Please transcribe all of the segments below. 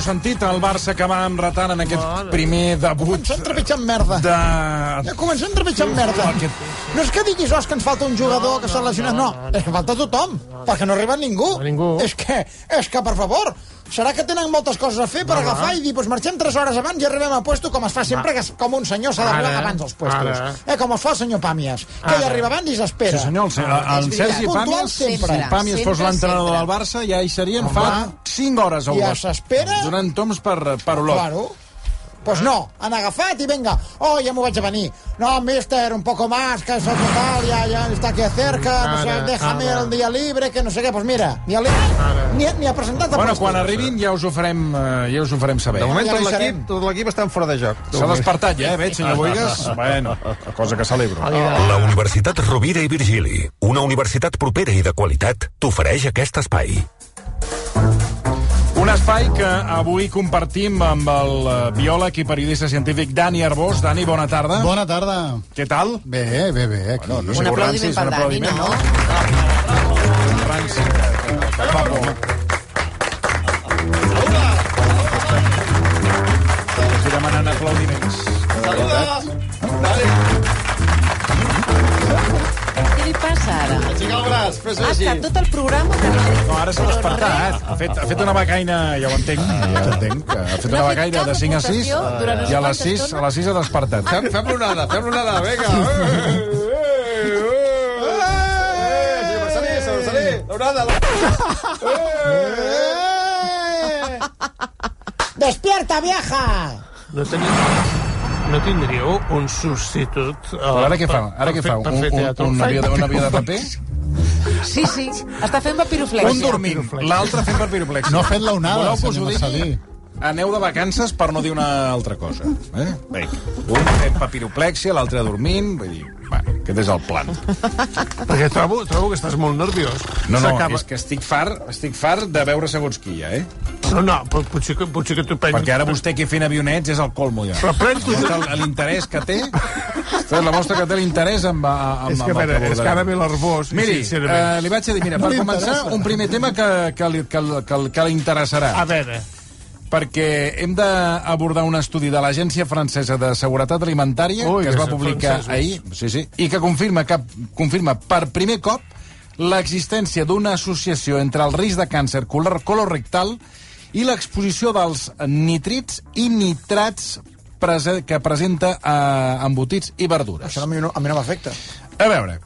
sentit, el Barça que va amb retard en aquest primer debut Comencem trepitjant merda. de... Ja comencem trepitjant merda. Aquest- No és que diguis, oh, és que ens falta un jugador que s'ha lesionat. No, és que falta tothom, perquè no arriba ningú. Ningú. És que, és que, per favor, serà que tenen moltes coses a fer per agafar i dir, doncs marxem 3 hores abans i arribem a puesto, com es fa sempre, que es- com un senyor s'ha d'arribar Ara. abans als puestos. Ara. Eh, com es fa el senyor Pàmies, que hi arriba abans i s'espera. Sí, senyor, el, el, el Sergi Ah, Puntual Pàmies, sempre. si Pàmies fos Sempre, l'entrenador sempre. del Barça, ja hi serien fa 5 hores o Ja dues, s'espera. Donant toms per, per olor. Claro. Pues no, han agafat i venga, oh, ja m'ho vaig a venir. No, mister, un poco más, que eso que tal, ya, ya está aquí cerca, no sé, Ara, déjame ara. el día libre, que no sé què. Pues mira, ni, el, ni, ni ha presentat a Bueno, puesto. quan arribin ja us ho farem, eh, ja us ho farem saber. De moment Ja tot hi serem. l'equip tot l'equip està en fora de joc. S'ha despertat ja, eh, veig, senyor Boigas? Bueno, cosa que celebro. La Universitat Rovira i Virgili, una universitat propera i de qualitat, t'ofereix aquest espai. Un espai que avui compartim amb el eh, biòleg i periodista científic Dani Arbós. Dani, bona tarda. Bona tarda. Què tal? Bé, bé, bé, aquí. Bueno, Un aplaudiment per Dani, no? Franci. Papo. Estic demanant aplaudiments. Què li passa ara? Ha estat tot el programa que no ha dit. No, ara s'ha despertat. Ha fet, ha fet una becaina, ja ho entenc. Ah, Ja ho entenc. que Ha fet No una ha fet becaina cap de 5 a 6 aportació durant no sé i a les quanta 6, estona. a les 6 ha despertat. Ah. Fem, fem l'onada, fem l'onada, vinga. Eh! Despierta, vieja! No, teniu, no tindríeu un substitut... Uh, Però ara què fa? Ara què fa? Per, Un, fer un, teatre. un, avió, de- un avió de paper? Sí, sí, està fent papiroflexia. Un dormint, l'altre fent per piroplexia. No ha fet la onada, Voleu que us senyor ho digui? Marcelí. Aneu de vacances per no dir una altra cosa. Eh? Vinga. Un fent papiroplexia, l'altre dormint, vull dir... Va, aquest és el plan. Perquè trobo, trobo que estàs molt nerviós. No, no, S'acaba- és que estic fart, estic fart de veure segons qui, ja, eh? No, no, però potser que, potser que tu penses... Perquè ara vostè que fent avionets és el colmo, ja. Però pren tu... Mostra el- l'interès que té. Aquesta és la mostra que té l'interès amb, amb, amb, És que, a amb el veure, és que ara abordarem. ve l'arbós, Miri, sincerament. eh, li vaig a dir, mira, per començar, un primer tema que, que, li, que, que, que, que l'interessarà. A veure, perquè hem d'abordar un estudi de l'Agència Francesa de Seguretat Alimentària Ui, que es que va són publicar francesos. ahir sí, sí, i que confirma, que confirma per primer cop l'existència d'una associació entre el risc de càncer color- colorectal i l'exposició dels nitrits i nitrats prese que presenta eh, embotits i verdures. Això a mi no, a mi no m'afecta. A veure,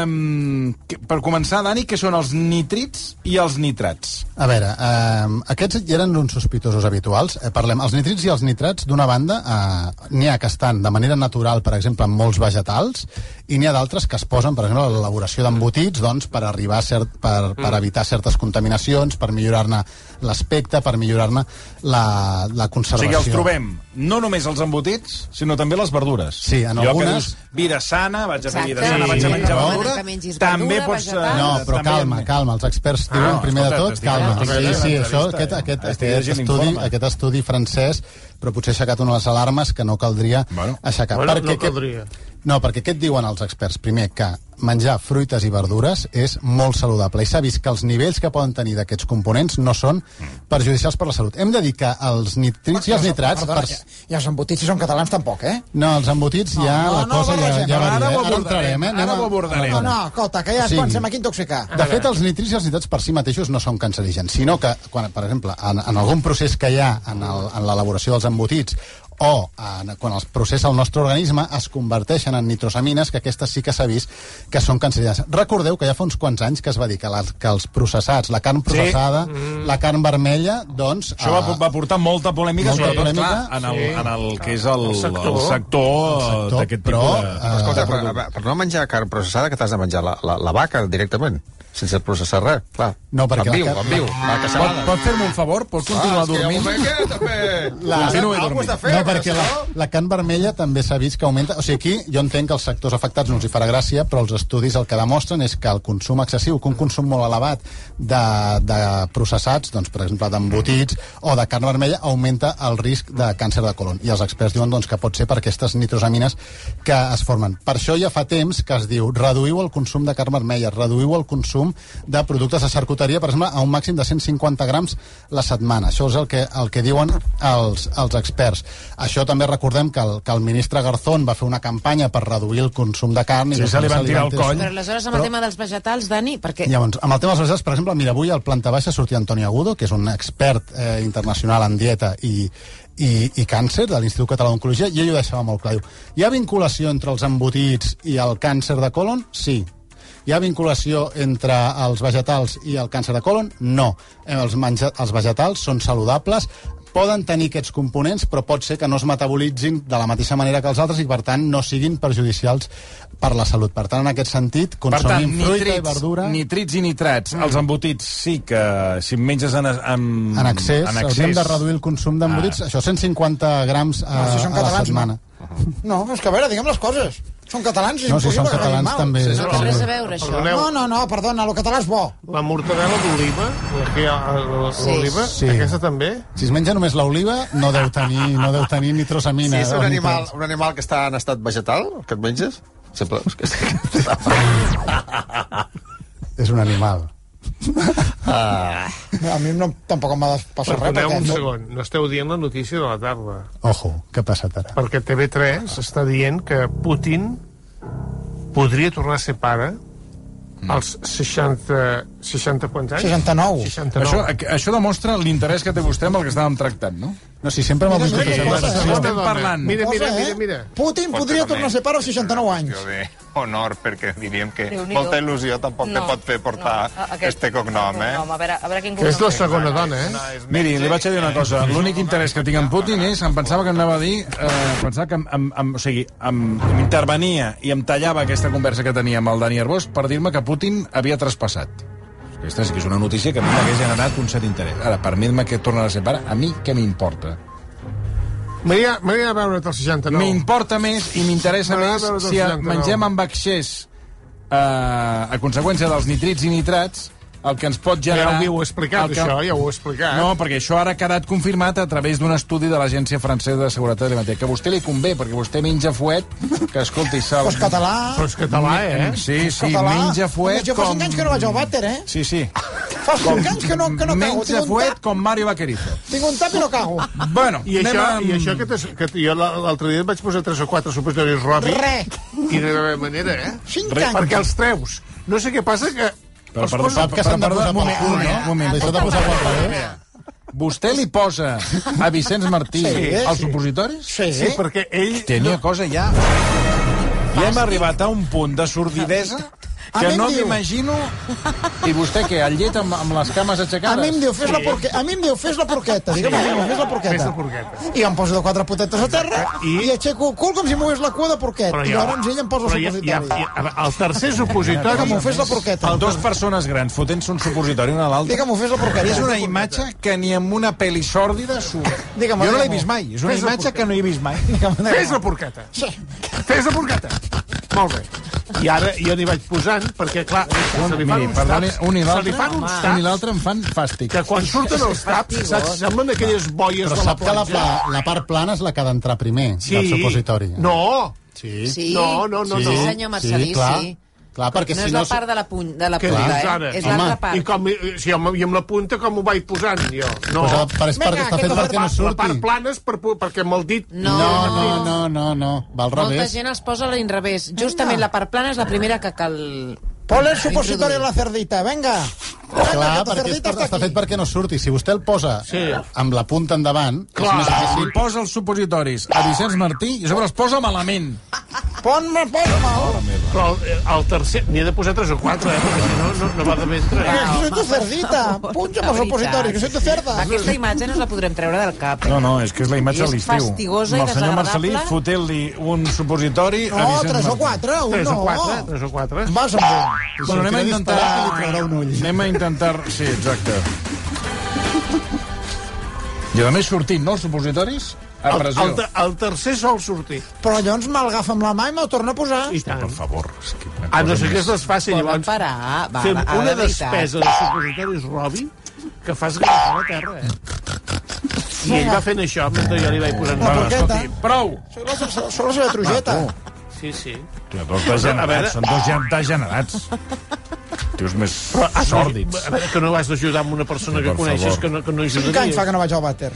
eh, per començar, Dani, què són els nitrits i els nitrats? A veure, eh, aquests ja eren uns sospitosos habituals. Eh, parlem, els nitrits i els nitrats, d'una banda, eh, n'hi ha que estan de manera natural, per exemple, en molts vegetals, i n'hi ha d'altres que es posen, per exemple, a l'elaboració d'embotits, doncs, per arribar a cert, per, Mm. per evitar certes contaminacions, per millorar-ne l'aspecte, per millorar-ne la, la O conservació. sigui, els trobem no només els embotits, sinó també les verdures. Sí, en Allò que algunes- dius, vida sana, vaig a fer vida Exacte. sana, vaig a Sí, menjar però- verdura... Que mengis També verdura, pots... eh, vegetals. No, però també- Ah, calma, calma, els experts diuen no, primer de escolta, tot, estic calma. llegint Sí, sí, l'entrevista, això, eh? aquest, aquest, Estic aquest, llegint estudi, l'informe. aquest estudi francès, però potser ha aixecat una de les alarmes que no caldria Bueno. aixecar. Bueno, no aquest- caldria. No, perquè què et diuen els experts? Primer, que menjar fruites i verdures és molt saludable i s'ha vist que els nivells que poden tenir d'aquests components no són perjudicials per la salut. Hem de dir que els nitrits Ah, i els nitrats... Perdona, Per... ja, ja els embotits, si són catalans, tampoc, eh? No, els embotits ja No, la no, cosa ja, barregem, ja varia. ara ho eh? abordarem, entrarem, eh? ara Anem a- ho abordarem. a- No, a- no, escolta, que ja es Sí. comencem aquí a intoxicar. de fet, els nitrits i els nitrats per si mateixos no són cancerígens, sinó que, quan, per exemple, en, en algun procés que hi ha en el- en l'elaboració dels embotits o en, quan els processa el nostre organisme es converteixen en nitrosamines, que aquestes sí que s'ha vist que són cancerígenes. Recordeu que ja fa uns quants anys que es va dir que, les, que els processats, la carn processada, sí. la carn vermella, doncs... Això va, eh, va portar molta polèmica, Molta sobretot, polèmica, clar, en el, sí. en el que és el, El sector. el El sector eh, sector, d'aquest però, tipus de... eh, Escolta, per, per no menjar carn processada, que t'has de menjar la, la, la vaca directament, sense processar res, clar. No, perquè en la viu, carn- en viu, la Pot, caçada. Ah, pot fer-me un favor? Pot continuar dormint? Ah, és que ja ho veig, eh, també. La- Continua Algú dormint. has de fer, No, perquè la, la can vermella també s'ha vist que augmenta... O sigui, aquí jo entenc que els sectors afectats no els hi farà gràcia, però els estudis el que demostren és que el consum excessiu, que un consum molt elevat de, de processats, doncs, per exemple, d'embotits o de carn vermella, augmenta el risc de càncer de colon. I els experts diuen doncs, que pot ser per aquestes nitrosamines que es formen. Per això ja fa temps que es diu reduïu el consum de carn vermella, reduïu el consum de productes de charcuteria, per exemple, a un màxim de 150 grams la setmana. Això és el que, el que diuen els, els experts. Això també recordem que el, que el ministre Garzón va fer una campanya per reduir el consum de carn... Sí, doncs se li van tirar el coll. Però aleshores, amb el tema dels vegetals, Dani, perquè... Llavors, amb el tema dels vegetals, per exemple, mira, avui al Planta Baixa sortia Antonio Agudo, que és un expert eh, internacional en dieta i, i, i càncer de l'Institut Català d'Oncologia, i ell ho deixava molt clar. Diu, hi ha vinculació entre els embotits i el càncer de colon? Sí. Hi ha vinculació entre els vegetals i el càncer de colon? No. Eh, Els, menja els vegetals són saludables, poden tenir aquests components, però pot ser que no es metabolitzin de la mateixa manera que els altres i, per tant, no siguin perjudicials per la salut. Per tant, en aquest sentit, Per tant, consumim fruita i nitrits, verdura... nitrits i nitrats. Els embotits sí que, si en menges en, en, en excés, Mm, en hauríem excés de reduir el consum d'embotits, ah. això 150 grams a, No, si són a la catalans, setmana. No, és que a veure, diguem les coses. Són catalans i No, si són impossible que catalans mal. també. Sí, sí. Però res a veure, això. Perdoneu, No, no, no, perdona, el català és bo. la mortadela d'oliva, la que hi ha a la- Sí. l'oliva, Sí. aquesta també? Si es menja només l'oliva, no deu tenir, no deu tenir nitrosamina. Sí, és un o animal, nitrats. un animal que està en estat vegetal, que et menges? Sempre... És un animal. A mi no, tampoc m'ha de passar res, Perdoneu perquè... un No, segon, no esteu dient la notícia de la tarda, Ojo, què passa ara? perquè TV3 està dient que Putin podria tornar a ser pare Mm. als 60... 60 quants anys? 69. 69. Això, a- això demostra l'interès que té vostè amb el que estàvem tractant, no? No, si sempre m'ha volgut mira, mira, posar la mira, secció. estem parlant. Mira, mira, Cosa, mira, eh? mira. Putin podria tornar a ser pare als 69 anys. qüestió de honor, perquè diríem que Déu-n'hi-do. molta il·lusió tampoc no, te pot fer portar no, a- aquest, este cognom, eh? A veure, a veure quin Que és la cognom. segona dona, eh? és Miri, li vaig a dir una cosa. L'únic interès que tinc en Putin no, és... Em pensava que em anava a dir... Eh, pensava que em, em, em, o sigui, em, em intervenia i em tallava aquesta conversa que tenia amb el Dani Arbós per dir-me que Putin havia traspassat. Aquesta sí que és una notícia que a mi m'hagués generat un cert interès. Ara, permet-me que tornen a ser pare, a mi què m'importa? Maria, Maria, a veure't al 69. M'importa més i m'interessa Serà més del si 69. mengem amb excés eh, a conseqüència dels nitrits i nitrats el que ens pot Ja generar... ho heu explicat, el això, ja ho heu explicat. No, perquè això ara ha quedat confirmat a través d'un estudi de l'Agència Francesa de Seguretat Alimentària, que a vostè li convé, perquè vostè menja fuet, que escolti, sal... Pues català... Però és català, eh? Sí, sí, català. menja fuet Jo fa 5 anys que no vaig al vàter, eh? Sí, sí. Fa 5 anys que no, que no cago. menja Tinc un, fuet tap, com Mario Vaquerizo. tinc un tap i no cago. Bueno, I anem això, amb- i això que, t'has- que jo la- l'altre dia et vaig posar tres o quatre supositoris Robi Re. i de la manera, eh? 5 Re, anys. Perquè els treus. No sé què passa que... Però, els perdó, posen- Sap que s'han de Perdó, posar un pel moment, un cul, no? moment, un moment. S'han de posar pel cul. eh? Vostè li posa a Vicenç Martí sí, als sí. opositoris? Sí, Sí, perquè ell... Tenia cosa ja... I hem arribat a un punt de sordidesa A mi que em no diu. m'imagino... I vostè què, el llet amb, amb les cames A mi aixecades? em diu, fes la porqueta. A mi em diu, fes la porqueta. Digue'm, digue'm, fes la porqueta. Fes la porqueta. I em poso de quatre potetes a terra i, I- i aixeco el cul com si mogués la cua de porquet. I llavors ell em posa el però ja- ja- supositori. Ja, ja- a veure, el tercer supositori... Digue'm, fes la porqueta. El dos persones grans fotent-se un supositori una a l'altra. Digue'm, fes la porqueta. És una imatge que ni amb una pel·li sòrdida surt. Jo Digue'm-ho, no l'he digue'm-ho. vist mai. És una Fes-ho, imatge que no he vist mai. Fes la porqueta. Fes la porqueta. Molt bé. I ara jo n'hi vaig posant, perquè, clar, se li fan Miri, uns perdoni, taps. un i Se li l'altre... fan uns Un i taps l'altre em fan fàstic. que quan surten els taps, saps, semblen aquelles boies Però de la sap que la, platja. pla, la part plana és la que ha d'entrar primer, Sí. del supositori. No, Sí. Sí, No, no, no, sí, no. senyor Marcelí, sí. clar. Clar, perquè No si és no... la part de la, puny, de la Què punta, dius ara? eh? És Home. l'altra part. I com, i- si amb, i amb la punta com ho vaig posant, jo? No. Però, però és perquè Vinga, està que fet la perquè la, no la part surti. plana és per, pu- perquè amb el dit... No, No, no, no, no, no. Va al Molta revés. gent els posa a l'inrevés. Justament la part plana és la primera que cal... Pon el supositori a la cerdita, venga. Clar, Venga, que ta perquè és cerdita per, està està aquí. fet perquè no surti. Si vostè el posa Sí. amb la punta endavant, Clar. és més difícil. Li posa els supositoris a Vicenç Martí i a sobre els posa malament. Pon-me, pon-me. Però el, eh, el tercer... N'hi he de posar tres o quatre, eh? Perquè si no, no, no va de més tres. Que soy tu cerdita. Punxa'm el supositori, que soy tu cerda. Aquesta imatge no us la podrem treure del cap. eh? No, no, és que és la imatge I és de l'estiu. fastigosa i Amb el senyor Marcelí desagradable. fotent-li un supositori a No, Vicenç tres o Martí. quatre, un Tres no. o quatre, eh? tres o quatre. Vas amb un. Bueno, anem a Sortirà intentar... disparat i li traurà un ull. Anem a intentar... Sí, exacte. I a més sortint, no, els supositoris? a El, pressió. el, te- el tercer sol sortir. Però llavors me l'agafa amb la mà i me'l torna a posar. I tant. Per favor. És que una A no cosa ser que més. es desfaci, Poden llavors... parar. Va, Fem va, ara, una de veritat. despesa de secretaris Robi que fas grafar la terra, eh? I ell va fent això mentre jo li vaig posant... La Bueno, paqueta. Ah, escolti, prou! Sóc la, sóc, sóc la Ah, seva trujeta. Sí, sí. Tio, dos degenerats, són dos gen- degenerats. Tios més sòrdids. A veure, que no vas d'ajudar amb una persona Per que coneixes favor. que no, que no Cinc anys fa ajudaria. que no vaig al vàter.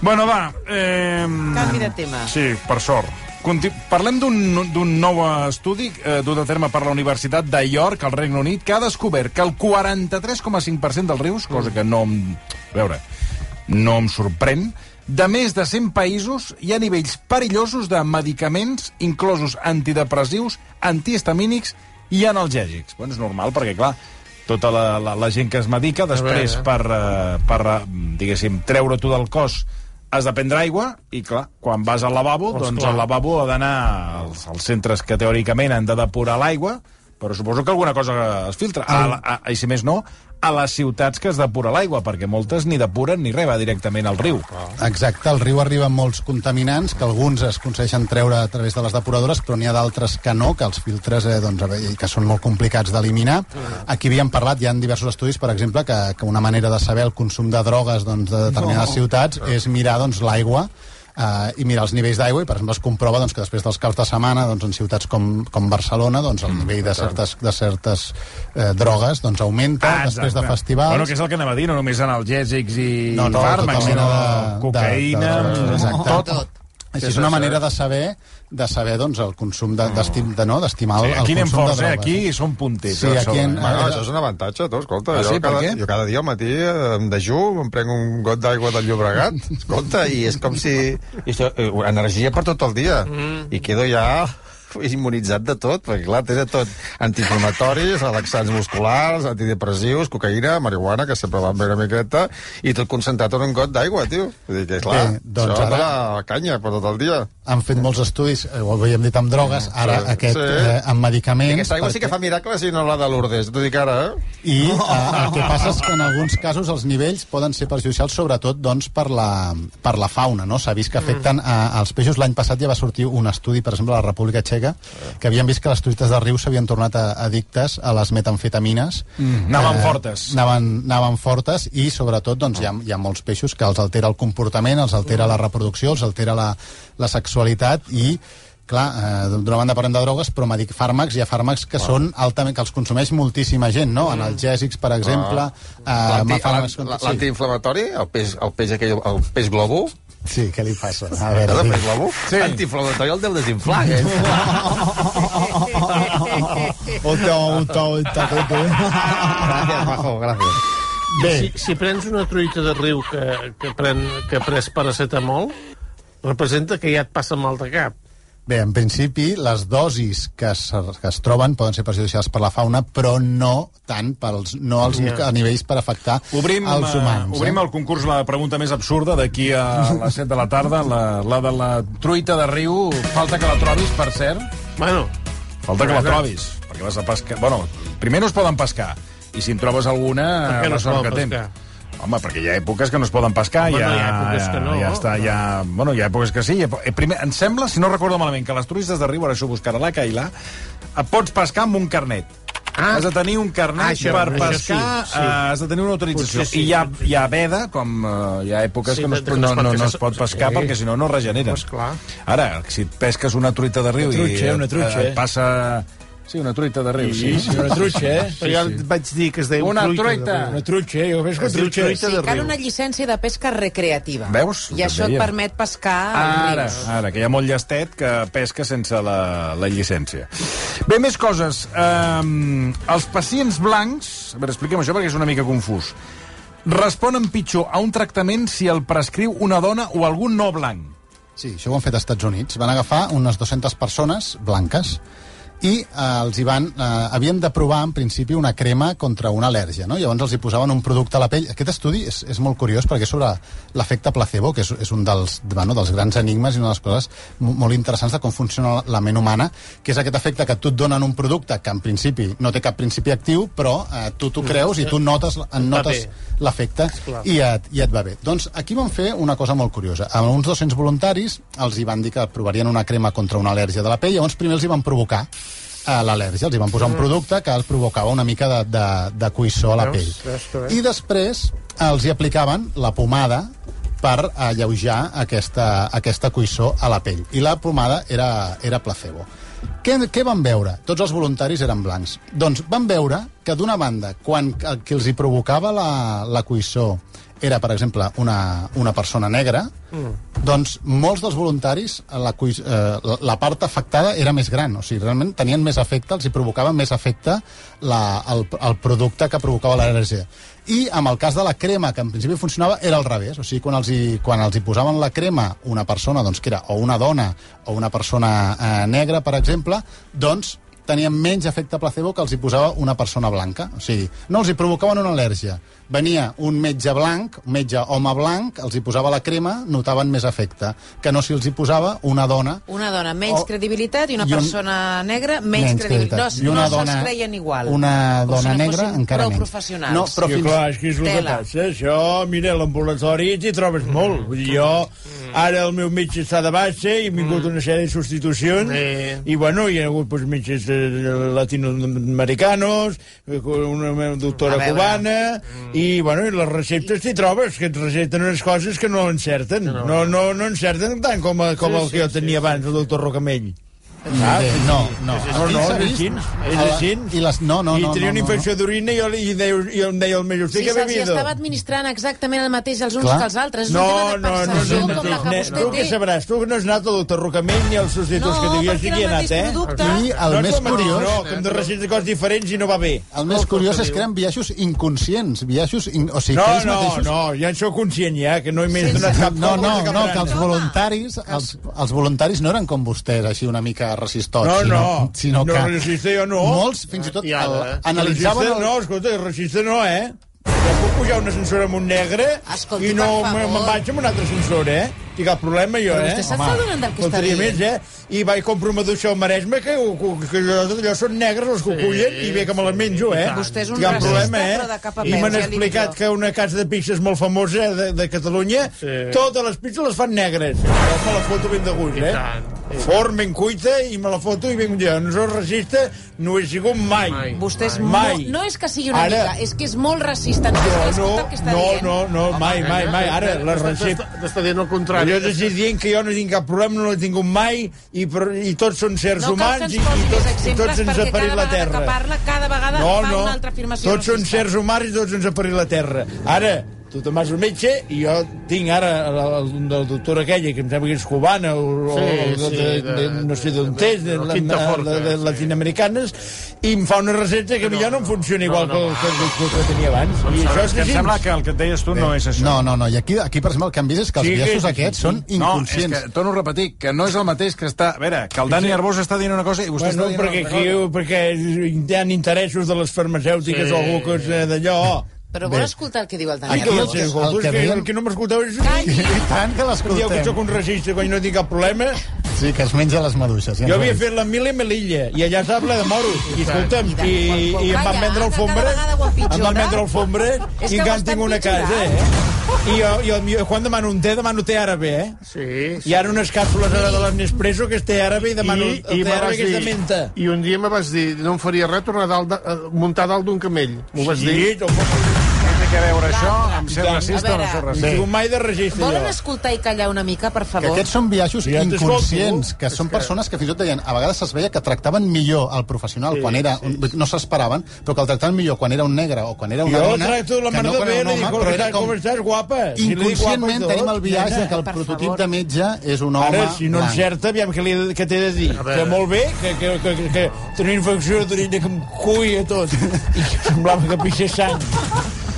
Bueno, va. Eh... Canvi de tema. Sí, per sort. Conti Parlem d'un d'un nou estudi eh, dut a terme per la Universitat de York, al Regne Unit, que ha descobert que el 43,5% dels rius, cosa que no em... A veure, no em sorprèn, de més de 100 països hi ha nivells perillosos de medicaments, inclosos antidepressius, antihistamínics i analgèsics. Bueno, és normal, perquè, clar, tota la, la, la gent que es medica, després, per, eh, per eh, diguéssim, treure-t'ho del cos, has de prendre aigua i, clar, quan vas al lavabo, Doncs doncs clar. al lavabo ha d'anar als, als centres que teòricament han de depurar l'aigua, però suposo que alguna cosa es filtra. A, la- a, I si més no, a les ciutats que es depura l'aigua, perquè moltes ni depuren ni reba directament al riu. Exacte, al riu arriben molts contaminants, que alguns es aconsegueixen treure a través de les depuradores, però n'hi ha d'altres que no, que els filtres eh, doncs, a veure, i que són molt complicats d'eliminar. Aquí havíem parlat, hi ha diversos estudis, per exemple, que, que una manera de saber el consum de drogues doncs, de determinades no. ciutats és mirar doncs, l'aigua eh, i mirar els nivells d'aigua i per exemple es comprova doncs, que després dels caps de setmana doncs, en ciutats com, com Barcelona doncs, el nivell de certes, de certes eh, drogues doncs, augmenta ah, després de festivals Bueno, que és el que anava a dir, no només analgèsics i No, no, fàrmacs, tota sinó mena de- cocaïna, de- de- amb exacte. tot. Així és una manera de saber de saber doncs, el consum de, d'estim, de, no, d'estimar Sí, el, aquí el anem consum forts, de eh? drogues. Aquí som punters. eh, Sí, a aquí en- sobre. Ah, Bueno, era- això és un avantatge, tu, escolta. Ah, jo, sí? Per cada, què? jo cada dia al matí eh, em dejú, em prenc un got d'aigua del Llobregat, escolta, i és com si... I això, eh, energia per tot el dia. Mm. I quedo ja immunitzat de tot, perquè clar, té de tot antiinflamatoris, relaxants musculars, antidepressius, cocaïna, marihuana, que sempre van bé una miqueta, i tot concentrat en un got d'aigua, tio. Vull dir que, clar, Bé, doncs això ara- de la canya per tot el dia. Han fet molts estudis, eh, ho havíem dit amb drogues, ara sí. aquest Sí. eh, amb I medicaments... aquesta aigua sí que fa miracles i no la de Lourdes, t'ho dic ara, eh? I eh, el que passa és que en alguns casos els nivells poden ser perjudicials, sobretot doncs, per, la, per la fauna. No? S'ha vist que afecten a, als peixos. L'any passat ja va sortir un estudi, per exemple, a la República Txeca, que havien vist que les turistes de riu s'havien tornat a, addictes a les metamfetamines. Mm. Anaven fortes. Anaven, anaven fortes i, sobretot, doncs, hi, ha, hi ha molts peixos que els altera el comportament, els altera la reproducció, els altera la, la sexualitat i clar, eh, d'una banda parlem de drogues, però medic fàrmacs, hi ha fàrmacs que són altament, que els consumeix moltíssima gent, no? Analgèsics, per exemple, Ah, eh, Mm. L'anti- fàrmacs... l'an- Sí, L'antiinflamatori, el peix, el peix aquell, el peix globo, sí, què li passa? A eh, veure, el peix sí. globo, sí. antiinflamatori el deu desinflar, eh? Un tau, un tau, un tau, un tau. gràcies, Majo, gràcies. Bé, Si, si prens una truita de riu que, que, pren, que ha pres paracetamol, representa que ja et passa mal de cap. Bé, en principi, les dosis que es, que es troben poden ser perjudicials per la fauna, però no tant pels, no als, Ja. a nivells per afectar Obrim, els humans. eh, obrim el concurs la pregunta més absurda d'aquí a les 7 de la tarda, la, la de la truita de riu. Falta que la trobis, per cert. Bueno, Falta que la trobis, perquè vas a pescar... Bueno, primer no es poden pescar, i si en trobes alguna, Per què no la es sort poden que tens. pescar? Home, perquè hi ha èpoques que no es poden pescar, Home, ja, no, hi ha èpoques que no. ja està, ja... Bueno, hi ha èpoques que sí. Hi ha... eh, Primer, em sembla, si no recordo malament, que les turistes de riu, ara això ho buscarà la Cailà, eh, pots pescar amb un carnet. Ah, Ah. has de tenir un carnet Ah, això, això, per això pescar, sí, sí, sí. sí. has de tenir una autorització. Potser sí. I hi ha, hi ha veda, com eh, hi ha èpoques Sí, que no es, que no, no es pot no, no pescar. es pot pescar Sí. perquè si no, no regeneres. Pues clar. Ara, si et pesques una truita de riu i trutxa, et- una trutxa. et passa... Sí, una truita de riu, sí. sí. Una trutxa, eh? però ja et vaig dir que es deia Una truita. de truita. Una trutxa, eh? Jo pesco Es diu trutxes. truita de Cal riu. una llicència de pesca recreativa. Veus? El I que això et deia. permet pescar als Ara, rius. ara, que hi ha molt llestet que pesca sense la, la llicència. Bé, més coses. Um, els pacients blancs... A veure, expliquem això perquè és una mica confús. Responen pitjor a un tractament si el prescriu una dona o algun no blanc. Sí, això ho han fet als Estats Units. Van agafar unes 200 persones blanques i eh, els hi van, eh, havien de provar en principi una crema contra una al·lèrgia, no? Llavors els hi posaven un producte a la pell. Aquest estudi és, és molt curiós perquè és sobre l'efecte placebo, que és, és un dels, bueno, dels grans enigmes i una de les coses mo- molt interessants de com funciona la ment humana, que és aquest efecte que tu et donen un producte que en principi no té cap principi actiu, però eh, tu t'ho creus i tu notes, en Va notes bé. l'efecte Esclar. i, et, i et va bé. Doncs aquí van fer una cosa molt curiosa. Amb uns 200 voluntaris els hi van dir que provarien una crema contra una al·lèrgia de la pell, llavors primer els hi van provocar eh, l'al·lèrgia, els hi van posar un producte que els provocava una mica de, de, de cuissó a la Mm. Veus? pell. Veus que bé. I després els hi aplicaven la pomada per alleujar aquesta, aquesta cuissó a la pell. I la pomada era, era placebo. Què, què van veure? Tots els voluntaris eren blancs. Doncs van veure que, d'una banda, quan el que els hi provocava la, la cuissó era, per exemple, una, una persona negra, mm. doncs molts dels voluntaris, la, cuis, eh, la- la part afectada era més gran. O sigui, realment tenien més efecte, els hi provocava més efecte la, el, el producte que provocava l'al·lèrgia. I amb el cas de la crema, que en principi funcionava, era al revés. O sigui, quan els hi, quan els hi posaven la crema una persona, doncs, que era o una dona o una persona eh, negra, per exemple, doncs tenien menys efecte placebo que els hi posava una persona blanca. O sigui, no els hi provocaven una al·lèrgia. Venia un metge blanc, un metge home blanc, els hi posava la crema, notaven més efecte, que no si els hi posava una dona Una dona menys O- credibilitat i una i un- persona negra menys, credibilitat. No, I no se'ls creien igual. Una Com si dona no negra fossin encara prou menys. professionals. No, però Sí, fins... clar, és que és el que Tela. passa. Això, eh? mira, a l'ambulatori t'hi trobes molt. Vull dir, jo, ara el meu metge està de baixa i hem vingut una sèrie de substitucions Sí. i, bueno, hi ha hagut doncs, metges eh, latinoamericanos, eh, una doctora A veure. cubana i, bueno, i les receptes t'hi trobes, que et receten unes coses que no encerten. No, no, no encerten tant com, a, com el que jo tenia abans, el doctor Rocamell. Ah, Bé, no, no. No, no, és així. És A la- així. I les... No, no, I no. tenia una no, no, no. infecció d'orina i jo, li- i deia, i em deia el meu, Sí, usted què ha se'ls hi bebido? estava administrant exactament el mateix els uns Clar. que els altres. És No, un tema de no, no, percepció no, no, com la que Ne- vostè tu què té. sabràs? Tu no has anat al doctor Rocamell ni als substituts No, que diu. Jo sí perquè que hi he era el anat, mateix eh? producte. I el no, més és el mateix, curiós... No, que hem de recitar coses diferents i no va bé. El més curiós és que eren biaixos inconscients, biaixos... In... O sigui, No, que ells no, mateixos... no, ja en sóc conscient ja, que no m'he donat cap No, no, cop a no, cap que els brana. voluntaris, Ah, els, els voluntaris no eren com vostès, així una mica resistots, No, sinó, no, sinó no, que resistir jo no. molts fins i tot I el, ara, eh? analitzaven... Registre El... no, escolta, registre no, eh? Jo puc pujar un ascensor amb un negre Escolti, i no per favor. me- me'n vaig amb un altre ascensor, eh? I cap problema, jo, Però eh? vostè se'n està donant del que està faltaria més, dient. eh? I vaig comprar una duixa al Maresme, que, que, que allò, allò són negres, els que ho cullen, i bé que me la menjo, eh? Vostè és un Cap racista, problema, eh? però de cap a I peus, m'han ja li dic explicat jo. que una casa de pizzas molt famosa eh, de, de Catalunya, Sí. totes les pizzas les fan negres. Jo me la foto ben de gust, I eh? tant. Forn ben cuita i me la foto i ben jo. No soc racista, no he sigut mai. Mai. Vostè és Mai. molt... No és que sigui una Ara- mica, és que és molt racista. No, no, No, el que està no, dient. no, no, mai, mai, mai. Ara, la recepta... T'està dient el contrari. Jo t'estic dient que jo no tinc cap problema, no l'he tingut mai, i, per, i tots són sers No cal humans que ens i, i posi tots, més i exemples tots ens ha perquè parit cada la vegada terra. que parla, cada vegada No, fa no, una altra afirmació. tots són racista. sers humans i tots ens ha parit la terra. Ara, tu te'n vas al metge i jo tinc ara la, la, la doctora aquella, que em sembla que és cubana o, o Sí, de, sí, de, de- de, no sé d'on és, de, de la- Quinta de- Forta, de, de, sí. latinoamericanes, i em fa una recepta que millor no, em funciona igual no, que, el, que, el, que, el que tenia abans. I això és que em així. sembla que el que et deies tu no és això. No, no, no, i aquí, aquí per exemple, el que han vist és que els Sí, biaixos sí, sí, aquests són No, és inconscients. que, torno a repetir, que no és el mateix que està... A veure, que el Dani Arbós està dient una cosa i vostè Bueno, està perquè, dient una aquí, altra cosa. perquè hi ha interessos de les farmacèutiques sí. o algú que és eh, d'allò. Però vol escoltar el que diu el Ai, que Daniel. Aquí el el, que, que- el el, que que, veiem- el que no m'escolteu és... Calli. I tant que Dieu que l'escoltem. sóc un regista quan no tinc cap problema. Sí, que es menja les maduixes. Ja Jo ens ho havia ha dit. fet la mili melilla i allà estava ple de moros. I escolta'm, i, i em van Calla, vendre que cada alfombres. vegada ho Em empitjora. van vendre alfombres És i que ho encara en està tinc una casa, eh? I jo, jo, jo, quan demano un té, demano té àrabe, eh? Sí, Hi ha unes càpsules ara de l'Espresso que és té àrabe i demano el té me vas àrabe que és de dir- menta. I un dia me vas dir, no em faria res tornar dalt de, eh, muntar dalt d'un camell. M'ho vas dir. Sí, tampoc- No té a veure això amb ser I tant. racista o no A ser veure, No he racista. sigut mai de registre, Volen jo. escoltar i callar una mica, per Que favor? aquests són biaixos Ja t'escolto. inconscients, que són persones que fins i tot deien, a vegades es veia que tractaven millor el professional quan era, un, no s'esperaven, però que el tractaven millor quan era un negre o quan era una Jo dona, tracto la que mare no de quan bé, era li un dic, home, com però era estàs, com com... estàs, guapa? Si li dic guapa i Inconscientment tot, tenim el biaix de que el per prototip favor. de metge és un home Ara, si no blanc. encerta, aviam què, li, què t'he de dir. Que molt bé, que, que, que, que, que té una infecció d'orina que em cuia tot. I que semblava que pixés sang.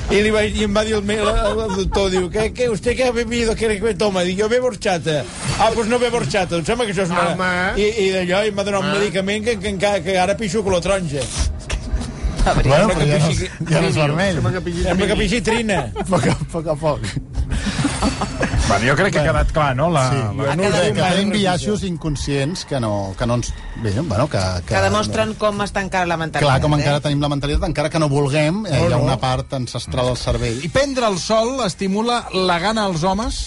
I, li vaig, I em va dir el, meu, el, el doctor, diu, que, que usted que ha bebido, que, que toma? Dic, jo bebo horchata. Ah, doncs no ve borxata, em sembla que això és una... Home. I, i d'allò, i m'ha donat un medicament que, que, encara- que ara pixo color taronja. Bueno, Sembla però que ja no, pixi- ja no és vermell. Sembla que pixi trina. A poc a poc. A poc. Bueno, jo crec que ha quedat clar, no? La, Sí, la... bueno, quedat que, un que mal tenim registre. biaixos inconscients que no, que no ens... Bé, bueno, que, que, Que demostren com està encara la mentalitat. Clar, com eh? encara tenim la mentalitat, encara que no vulguem, eh, hi ha una part ancestral del cervell. I prendre el sol estimula la gana als homes,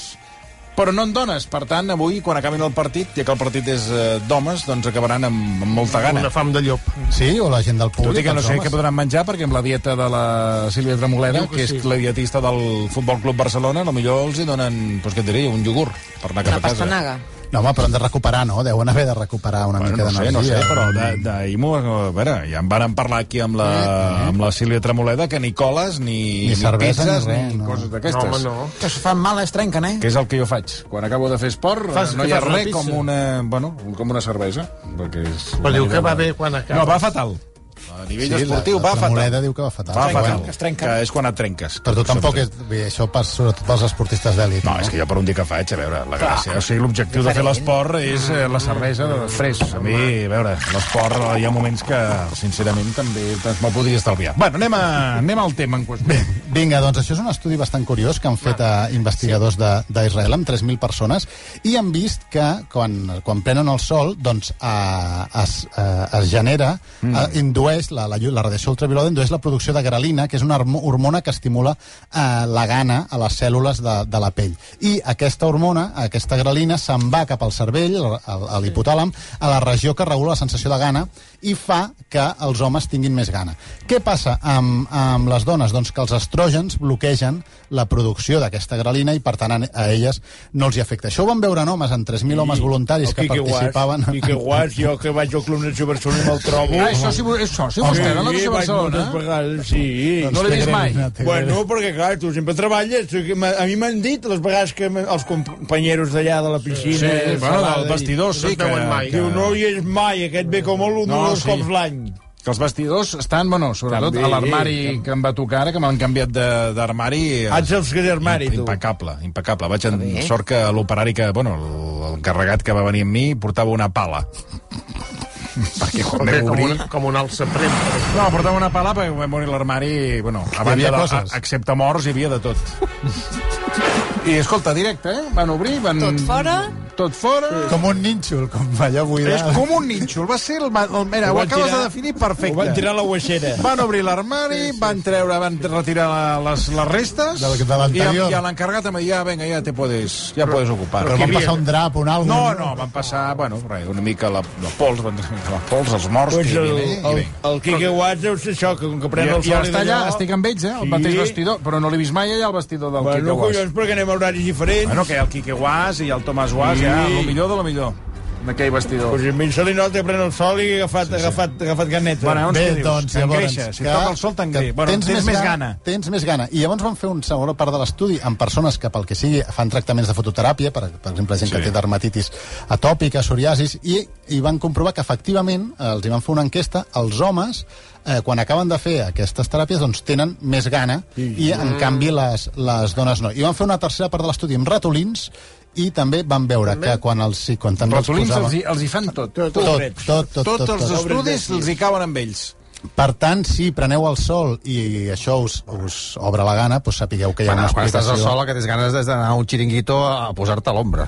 però no en dones. Per tant, avui, quan acabin el partit, ja que el partit és eh, d'homes, doncs acabaran amb, amb molta gana. Una fam de llop. Sí, o la gent del Mm. Tot i públic, que no els sé homes. què podran menjar, perquè amb la dieta de la Sílvia Tremoleda, Diu que que és sí. la dietista del Futbol Club Barcelona, a lo millor els hi donen, doncs què et diria, un iogurt per anar Una cap a casa. pastanaga. No, home, però han de recuperar, no? Deuen haver de recuperar una Bueno, mica no sé, d'energia. no sé, però de- d'ahir m'ho... A veure, ja en vàrem parlar aquí amb la, Mm. amb la Sílvia Tremoleda, que ni coles, ni, Ni cervesa, ni pizzas, res, ni no. coses No, home, d'aquestes. no. Que es fan mal, es trenquen, eh? que és el que jo faig. Quan acabo de fer esport, Fas- fas, no que hi ha fas una res pizza? com una, bueno, com una cervesa. Perquè és Però diu que va bé quan acaba. No, va fatal. A nivell sí, esportiu, la, va la fatal. Moleda diu que va fatal. Va fatal, Bueno, que és quan et trenques. però tu tampoc és... Bé, això per, sobretot pels esportistes d'èlit. No, és que jo per un dia que faig, a veure, la gràcia. O sigui, l'objectiu de fer l'esport és eh, la cervesa de després. A mi, a veure, l'esport eh, hi ha moments que, sincerament, també es- me'l podria estalviar. Bueno, anem, a, anem al tema en qüestió. Vinga, doncs això és un estudi bastant curiós que han fet Ah, eh, investigadors de- d'Israel amb 3.000 persones i han vist que quan, quan prenen el sol doncs, eh, es, eh, es genera, Mm. eh, indueix, la, la, llu- la radiació ultraviolada indueix la producció de grelina, que és una hormo- hormona que estimula eh, la gana a les cèl·lules de, de la pell. I aquesta hormona, aquesta grelina, se'n va cap al cervell, al- al- a l'hipotàlam, a la regió que regula la sensació de gana i fa que els homes tinguin més gana. Què passa amb, amb les dones? Doncs que els estrògens bloquegen la producció d'aquesta grelina i, per tant, a, a elles no els hi afecta. Això ho van veure en homes, en 3.000 homes voluntaris que participaven... I que guas, jo que vaig al Club Nació Barcelona i me'l trobo. Ah, això sí, això sí, vostè, no? Sí, Nació vaig Barcelona. moltes vegades, sí. No l'he vist mai. Bueno, perquè clar, tu sempre treballes. tu que m'ha- A mi m'han dit les vegades que me- els companyeros d'allà de la piscina... Sí, bueno, salada, del vestidor, no sí, et que, veuen mai. que, Diu, no hi és mai, aquest ve com a l'un No, no, dos sí. cops l'any. que els vestidors estan, bueno, sobretot També, a l'armari també. que em va tocar ara, que m'han canviat de- d'armari... eh, Haig els que armari, tu. Impecable, impecable. Vaig en sort que l'operari que, bueno, el- l'encarregat que va venir amb mi portava una pala. perquè quan Bé, vam com, obrir... un, com un alça prem. No, portava una pala perquè quan vam obrir l'armari, bueno, a banda de, havia a, coses. excepte morts, hi havia de tot. I, escolta, directe, eh? Van obrir, van... Mm. Tot fora? Tot fora. Com un nínxol, com allò És buidat. com un nínxol, va ser el... ma- el mira, Ho ho, van acabes tirar- de definir Ho perfecte. van tirar a la guaixera. Van obrir l'armari, van treure, van retirar la- les, les restes... Del- de l'anterior. I, i a l'encarregat em va dir, ja, vinga, ja te podes, ja podes ocupar. Però van passar un drap, un àlbum... No, no, van passar, bueno, res, una mica la, la pols, van treure la pols, els morts... Pues que hi el, havia, i el, bé. el Quique Guats deu ser això, que com que I, pren el I sol està allà, estic amb ells, eh? El Sí. mateix vestidor, però no l'he vist mai allà al vestidor del Bueno, Quique Guas. collons, perquè anem a horaris diferents. Bueno, que el Quique Guas i el Tomàs Guas, Sí. ja, el millor de lo millor, en aquell vestidor. Pues a mi se li nota pren el sol i ha agafat, agafat, agafat eh? ganeta. Bueno, llavors Bé, què dius? doncs, llavors, T'engreixa, si et toca el sol t'engreixa. Bueno, tens més gana. Tens més gana. I llavors van fer una segona part de l'estudi amb persones que, pel que sigui, fan tractaments de fototeràpia, per, per exemple, gent sí. que té dermatitis atòpica, psoriasis, i, i van comprovar que, efectivament, eh, els hi van fer una enquesta, els homes, eh, quan acaben de fer aquestes teràpies, doncs tenen més gana, sí. i, en canvi, les, les dones no. I van fer una tercera part de l'estudi amb ratolins, i també van veure també? que quan els... Sí, quan també Però els olins posaven- els, hi- els hi fan tot. Tot, tot, tot, tot, Tots els tot. estudis els hi cauen amb ells. Per tant, si preneu el sol i això us, us obre la gana, doncs sapigueu que hi eh, ha Quan, una quan estàs explicació. al sol, el que tens ganes és d'anar a un xiringuito a posar-te a l'ombra.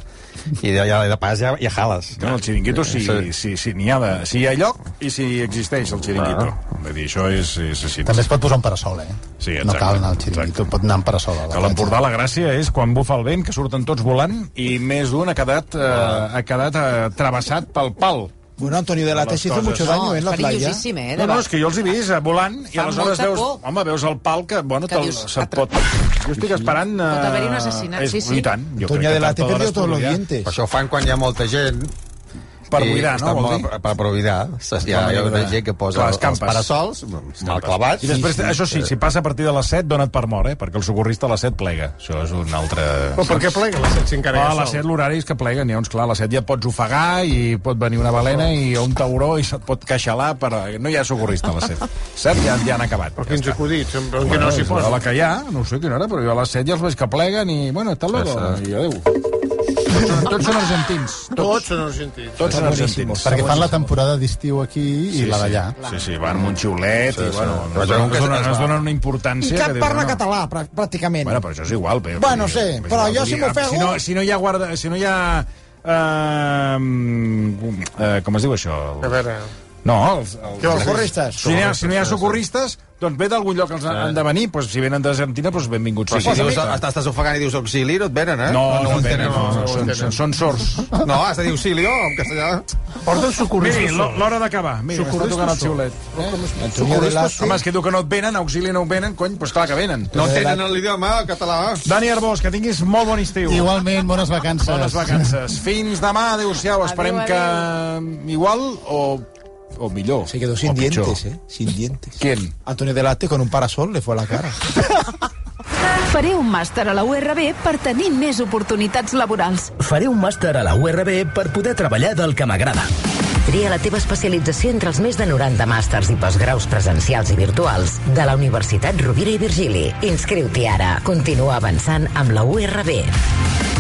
I de, ja, de pas ja, ja jales. No, el xiringuito, si, si, si, n'hi ha, de, si hi ha lloc i si existeix el xiringuito. Ah. Vull dir, això és, és així. També es pot posar un parasol, eh? Sí, No exacte, cal anar al xiringuito, pot anar amb parasol. A la Que a l'Empordà la gràcia és quan bufa el vent, que surten tots volant, i més d'un ha quedat, eh, Ah. ha quedat eh, travessat pel pal. Bueno, Antonio de la Las Teix hizo cosas. mucho daño en la playa. Perillosíssim, eh? No, De no, no, és que jo els he vist eh, volant i Fa aleshores molta veus, por. home, veus el pal que, bueno, Que que dius, se't atra- pot... Jo estic esperant... Eh, Pot haver-hi un assassinat, sí, sí. I tant. Jo crec Antonio que de la tard o Teix d'hora perdió es todos los produirà. dientes. Però això ho fan quan hi ha molta gent. Per i buidar, no, estan vol molt- dir? Per, per buidar. Estàs- Hi ha, hi ha una gent que posa Clar, Clar, les els, campes. parasols mal clavats. I després, sí, sí, això sí, si passa a partir de les 7, dona't per mort, eh? Perquè el socorrista a les 7 plega. Això és un altre... Però per què plega la 7 Ah, encara hi a ha les 7 sol? l'horari és que pleguen, llavors, clar, a les 7 ja et pots ofegar i pot venir una balena i o un tauró i se't pot queixalar, però no hi ha socorrista a les 7. 7 ja, ja han acabat. Però quins acudits, en plan que no s'hi A posa. la que hi ha, no ho sé a quina hora, però jo a les 7 ja els veig que pleguen i, bueno, hasta luego, i adéu. Tots, són- tots són argentins. Tots són argentins. Tots són argentins. Perquè fan la temporada d'estiu aquí i la d'allà. Sí, sí, van amb un xiulet Sí, i, sí. bueno, Però no, es jo donen- no, nunca- es donen, no es es va. donen una I importància... cap que dius, parla no, no. català, prà- pràcticament. Bueno, però això és igual. Però, Bueno, sí, però jo si m'ofego- Si no, si no hi ha guarda... Si no hi ha... Uh, uh, com es diu això? A veure... No, els... els Que els socorristes. Si no, hi ha, si no hi ha socorristes, doncs ve d'algun lloc els han de venir. Doncs si venen d'Argentina, doncs benvinguts. Però si siguin. dius, estàs, estàs ofegant i dius auxili, no et venen, eh? no, no, ho venen, entenen. no, no, no, són, són, són sords. no, no, has de dir auxili, oh, en castellà. Porten Miri, socorristes. l'ho- l'hora d'acabar. Mira, m'està Socorristes tocant el són. xiulet. Socorristes, Home, és que diu que no et venen, auxili no ho venen, cony, doncs clar que venen. No tenen l'idioma català. Dani Arbós, que tinguis molt bon estiu. Igualment, bones vacances. Bones vacances. Fins demà, adéu-siau. Esperem Adéu, que igual o, o millor. Se quedó sin o pitjor. dientes, ¿eh? Sin dientes. ¿Quién? Antonio Delate con un parasol le fue a la cara. Faré un màster a la URB per tenir més oportunitats laborals. Faré un màster a la URB per poder treballar del que m'agrada. Tria la teva especialització entre els més de 90 màsters i postgraus presencials i virtuals de la Universitat Rovira i Virgili. Inscriu-t'hi ara. Continua avançant amb la URB.